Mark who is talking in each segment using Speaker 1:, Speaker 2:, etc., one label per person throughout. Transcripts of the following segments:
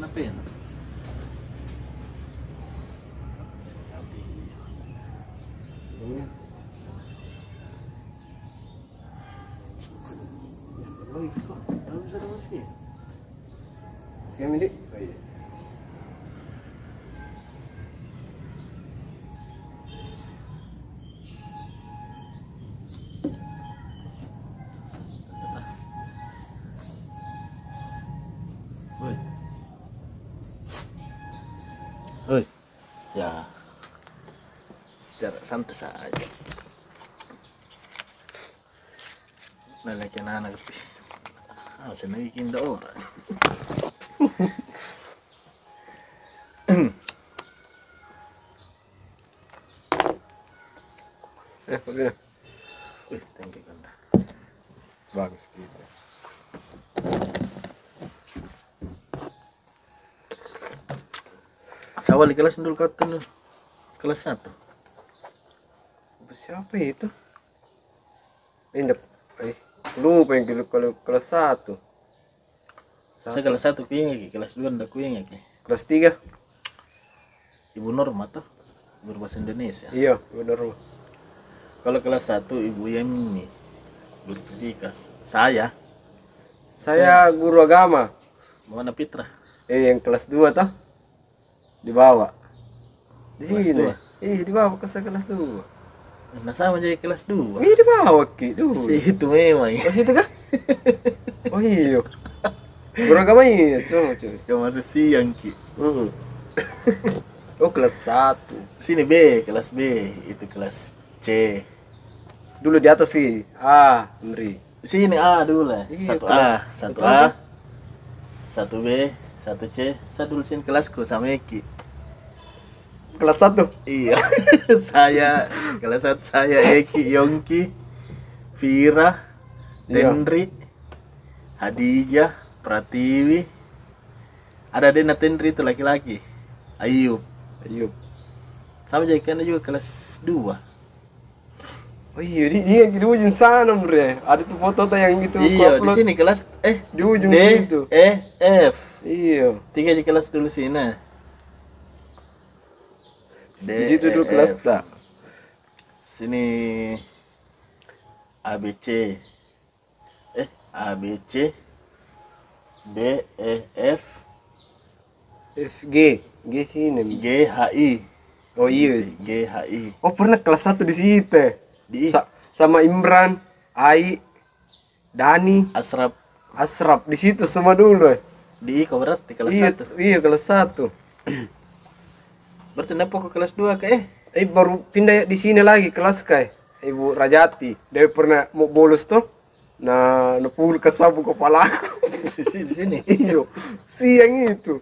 Speaker 1: na pen.
Speaker 2: Tiga minit. Baik.
Speaker 1: Oi. Oi. Ya. Jarak santai saja. Lalaki anak lebih. Ah, saya bikin dah orang.
Speaker 2: Eh, boleh.
Speaker 1: Wih, thank you Kanda.
Speaker 2: Bagus gitu.
Speaker 1: Saya awal di kelas dulu kata dulu. Kelas satu.
Speaker 2: Siapa itu? Indah. Eh, lupa yang dulu kalau kelas satu.
Speaker 1: Saya kelas satu kuingnya ki, kelas dua ndak kuingnya ki.
Speaker 2: Kelas tiga?
Speaker 1: Ibu Norma tuh berbahasa Indonesia.
Speaker 2: Iya, benar.
Speaker 1: Kalau kelas satu Ibu Yemi guru fisika. Saya
Speaker 2: Saya guru agama.
Speaker 1: Muhammad Fitra.
Speaker 2: Eh, yang kelas dua toh? Dibawa. Di
Speaker 1: Kelas
Speaker 2: sini.
Speaker 1: dua?
Speaker 2: Eh, dibawa ke kelas dua.
Speaker 1: Nah, saya menjadi kelas dua.
Speaker 2: Eh, dibawa ki dulu.
Speaker 1: Si itu memang ya.
Speaker 2: Oh situ kah? Oh iya. Guru agama iya, tuh, cuy.
Speaker 1: Yang masih siang ki.
Speaker 2: Hmm. Oh kelas satu.
Speaker 1: Sini B, kelas B, itu kelas C.
Speaker 2: Dulu di atas sih. Ah, Andri.
Speaker 1: Sini A dulu lah.
Speaker 2: Iya,
Speaker 1: Satu
Speaker 2: kelas-
Speaker 1: A, satu
Speaker 2: betul,
Speaker 1: A,
Speaker 2: kan?
Speaker 1: satu B, satu C. Saya dulu sini kelasku sama Eki.
Speaker 2: Kelas satu.
Speaker 1: Iya, saya kelas satu saya Eki Yongki, Vira,
Speaker 2: Iya.
Speaker 1: Tendri, Hadijah, Pratiwi. Ada Dena Tendri itu laki-laki. Ayub.
Speaker 2: Ayo.
Speaker 1: Sama jadi kena juga kelas 2.
Speaker 2: Oh iya, di, dia di ujung sana, Bre. Ada tuh foto tuh yang gitu.
Speaker 1: iya, di
Speaker 2: ku upload.
Speaker 1: sini kelas eh
Speaker 2: Di ujung
Speaker 1: D,
Speaker 2: situ.
Speaker 1: E, F.
Speaker 2: Iya.
Speaker 1: Tiga di kelas dulu sini. D,
Speaker 2: Di situ
Speaker 1: E,
Speaker 2: dulu kelas
Speaker 1: F.
Speaker 2: tak.
Speaker 1: Sini A, B, C. Eh, A, B, C. D, E, F,
Speaker 2: F G. G sini. Mi.
Speaker 1: G, H, I.
Speaker 2: Oh iya.
Speaker 1: G, H, I.
Speaker 2: Oh pernah kelas satu di situ. eh.
Speaker 1: Di
Speaker 2: Sa- sama Imran, Ai, Dani,
Speaker 1: Asrap.
Speaker 2: Asraf di situ semua dulu. eh.
Speaker 1: Di I kau berarti kelas
Speaker 2: iya,
Speaker 1: 1.
Speaker 2: Iya, kelas satu.
Speaker 1: Berarti kenapa kau kelas 2 ke eh?
Speaker 2: Eh baru pindah di sini lagi kelas kai. Ibu Rajati, dia pernah mau bolos tuh. Nah, nepul kesabu kepala aku.
Speaker 1: Di sini, di sini.
Speaker 2: Iyo, siang itu.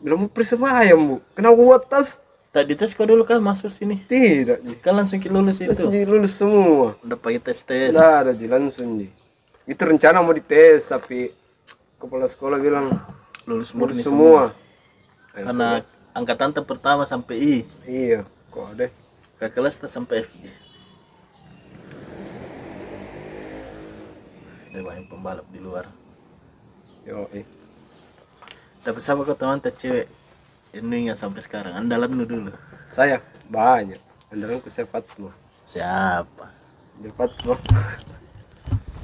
Speaker 2: Bilang mau persemayam, Bu. Kena gua tas.
Speaker 1: Tadi tes kau dulu kan masuk sini.
Speaker 2: Tidak, Ji.
Speaker 1: Kan langsung kita lulus
Speaker 2: Terus
Speaker 1: itu.
Speaker 2: Ji, lulus Nah, semua.
Speaker 1: Udah pakai tes tes.
Speaker 2: Tidak ada, Ji, langsung, Ji. Itu rencana mau dites, tapi kepala sekolah bilang,
Speaker 1: Lulus
Speaker 2: lulus
Speaker 1: murni
Speaker 2: semua.
Speaker 1: Karena angkatan ter pertama sampai I,
Speaker 2: Iya, kok deh.
Speaker 1: ke kelas ter sampai FG. Ada banyak pembalap di luar.
Speaker 2: Yo, eh.
Speaker 1: Tapi siapa kau teman tak cewek? Ini yang sampai sekarang andalanmu dulu.
Speaker 2: Saya banyak. Andalanku saya Fatma.
Speaker 1: Siapa?
Speaker 2: Dia Fatma.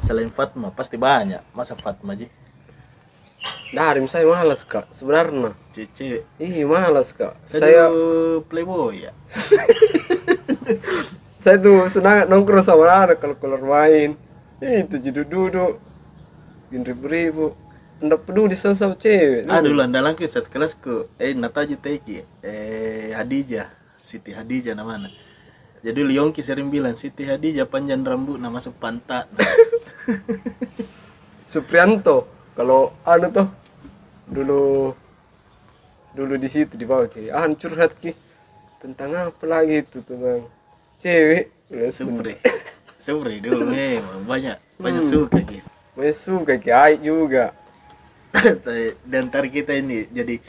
Speaker 1: Selain Fatma pasti banyak. Masa Fatma ji?
Speaker 2: Darim Nah, saya malas, Kak. Sebenarnya.
Speaker 1: Cewek.
Speaker 2: Ih, malas, Kak.
Speaker 1: Saya,
Speaker 2: Saya
Speaker 1: dulu playboy ya.
Speaker 2: saya tuh senang nongkrong sama anak kalau keluar main Eh, itu jadi duduk bikin ribu-ribu ndak peduli sama, sama cewek
Speaker 1: Ah dulu andalan ke satu kelas ke eh Nataji Teki eh Hadijah Siti Hadijah namanya. Jadi dulu Yongki sering bilang Siti Hadijah panjang rambut nama masuk pantat.
Speaker 2: Suprianto kalau anu tuh dulu dulu di situ di bawah ki ah curhat ki tentang apa lagi itu tentang cewek Ya,
Speaker 1: Supri. Supri dulu memang eh, banyak banyak suka gitu.
Speaker 2: Saya suka ki Aik juga
Speaker 1: Dan ntar kita ini jadi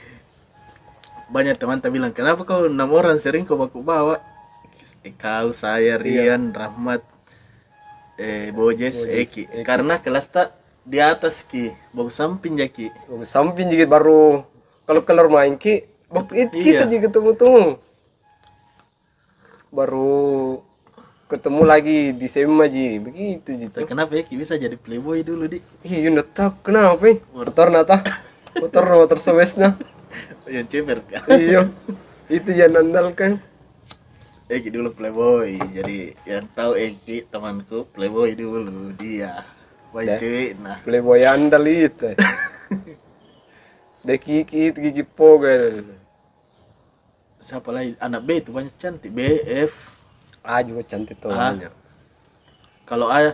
Speaker 1: banyak teman tak bilang kenapa kau enam orang sering kau baku bawa Eh, kau saya Rian Rahmat eh Bojes Eki. karena kelas tak di atas ki bau samping ja ki
Speaker 2: Bagus Oh, samping juga baru kalau keluar main ki bap- it-
Speaker 1: Iya.
Speaker 2: kita juga ketemu temu baru ketemu lagi di SMA ji begitu ji
Speaker 1: Tapi kenapa ya ki bisa jadi playboy dulu di
Speaker 2: iya you tahu kenapa eh? motor nata motor motor sewesna
Speaker 1: yang ceper kan
Speaker 2: iya itu kan? yang andalkan
Speaker 1: eh ki dulu playboy jadi yang tahu eh ki temanku playboy dulu dia
Speaker 2: Dah.
Speaker 1: Wah cewek nah
Speaker 2: playboy andal itu deki kiki gigi pogel
Speaker 1: siapa lagi anak B itu banyak cantik B F
Speaker 2: ah juga cantik tuh
Speaker 1: Ah.
Speaker 2: banyak.
Speaker 1: kalau A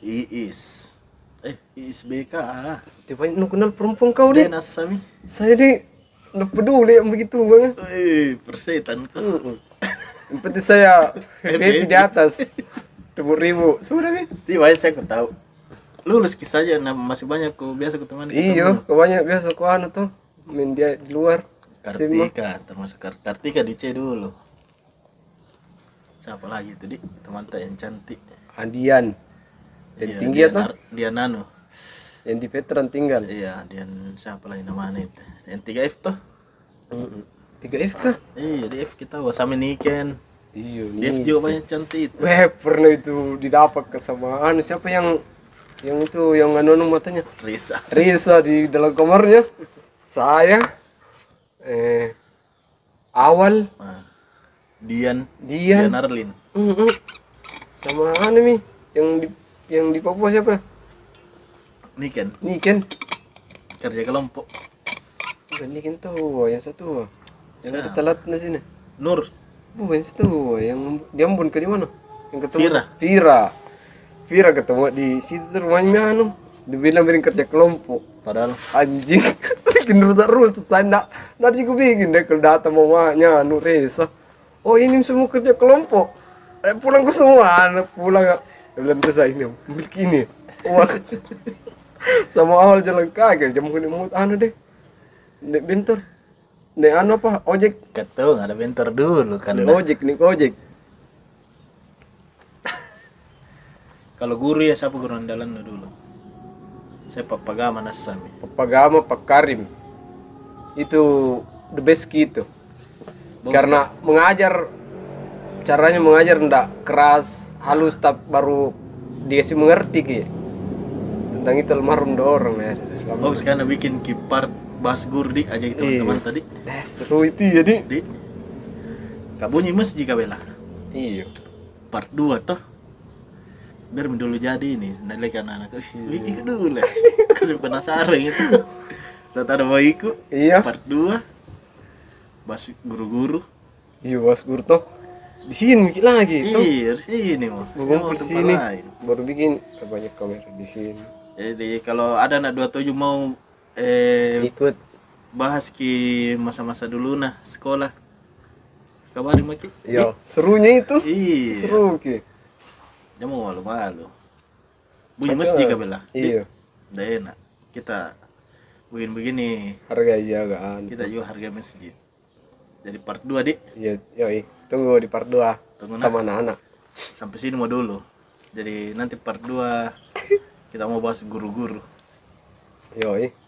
Speaker 1: Iis eh Iis B K A
Speaker 2: Dia banyak nu kenal perempuan kau deh
Speaker 1: Denas Sami
Speaker 2: saya deh nu peduli yang begitu bang
Speaker 1: Wih, persetan kok.
Speaker 2: Mm-mm. Yang penting saya
Speaker 1: Happy.
Speaker 2: happy di atas. Dua ribu. Sudah nih.
Speaker 1: Tiba saya aku tahu. Lulus kisah aja, nah, masih banyak ku biasa ku teman.
Speaker 2: Iyo, kebanyakan biasa ku anu tuh. Main dia di luar. Sima.
Speaker 1: Kartika, termasuk Kar- Kartika di C dulu. Siapa lagi tuh di teman tak yang cantik.
Speaker 2: Andian. Yang
Speaker 1: Iya,
Speaker 2: tinggi
Speaker 1: dia
Speaker 2: atau
Speaker 1: Nar- Dia Nano.
Speaker 2: yang di veteran tinggal.
Speaker 1: Anu. Iya, dia siapa lagi namanya itu? Yang 3F tuh.
Speaker 2: Tiga F kah?
Speaker 1: Iya, di F kita sama Niken.
Speaker 2: Iyo.
Speaker 1: Di F juga banyak cantik.
Speaker 2: Weh pernah itu didapat ke sama anu siapa yang yang itu yang anu anu matanya.
Speaker 1: Risa.
Speaker 2: Risa di dalam kamarnya. Saya. Eh. Awal.
Speaker 1: Nah, Dian.
Speaker 2: Dian.
Speaker 1: Dian Arlin.
Speaker 2: Mhm. Sama anu mi yang di yang di Papua siapa?
Speaker 1: Niken.
Speaker 2: Niken.
Speaker 1: Kerja kelompok.
Speaker 2: Bukan Niken tuh, yang satu. Yang ada
Speaker 1: Siapa?
Speaker 2: telat di sini.
Speaker 1: Nur.
Speaker 2: Bukan yang satu, yang di Ambon ke di mana? Yang ketemu
Speaker 1: Vira.
Speaker 2: Vira. Vira ketemu di situ tuh rumahnya anu. Dibilang bikin kerja kelompok.
Speaker 1: Padahal
Speaker 2: Anjing, bikin rusak-rusak saya nak. Nanti gue bikin deh kalau datang mamanya anu Reza. Oh ini semua kerja kelompok. Eh, pulang ke semua, anak pulang. Dia bilang Reza ini, milik ini. Wah. Sama awal jalan kaki, jam kena mut anu deh. Dek bentor. Dek anu apa? Ojek.
Speaker 1: Ketua nggak ada bentor dulu kan.
Speaker 2: Dek ojek nih, ojek.
Speaker 1: Kalau guru ya siapa guru andalan lu dulu? Saya Pak Pagama Nassami.
Speaker 2: Pak Gama, Pak Karim. Itu the best key itu.
Speaker 1: Bagus,
Speaker 2: Karena mengajar caranya mengajar ndak keras, halus tapi baru dia sih mengerti ki. Tentang itu almarhum dua orang ya.
Speaker 1: Oh, sekarang bikin kipar Bas Gurdi aja gitu teman-teman tadi.
Speaker 2: Eh, seru itu jadi.
Speaker 1: Di Kabunyi Masjid Kabela.
Speaker 2: Iya.
Speaker 1: Part 2 toh. Biar dulu jadi ini, nilai anak-anak.
Speaker 2: Iya.
Speaker 1: Ih, Wiki ke dulu lah. Kasih penasaran gitu. Saat ada bayiku,
Speaker 2: Iya.
Speaker 1: part 2. Bas guru-guru.
Speaker 2: Iya, Mas Gurto. Di sini ki lagi itu.
Speaker 1: Ih, harus ini mau. Mau
Speaker 2: Berkumpul di
Speaker 1: tempat
Speaker 2: sini.
Speaker 1: lain.
Speaker 2: Baru bikin banyak kamera di sini.
Speaker 1: Jadi kalau ada anak 27 mau eh,
Speaker 2: Ikut.
Speaker 1: bahas ki masa-masa dulu nah sekolah kabari maki
Speaker 2: Iya, serunya itu.
Speaker 1: iya
Speaker 2: Seru ki.
Speaker 1: dia mau malu malu bunyi masjid kabela
Speaker 2: Iya.
Speaker 1: dah enak kita begini begini
Speaker 2: Harga jagaan.
Speaker 1: kita juga harga masjid jadi part 2 dik
Speaker 2: Iya, yoi. Tunggu di part 2
Speaker 1: Tunggu,
Speaker 2: sama anak-anak.
Speaker 1: sampai sini mau dulu jadi nanti part 2 kita mau bahas guru-guru
Speaker 2: Yoi.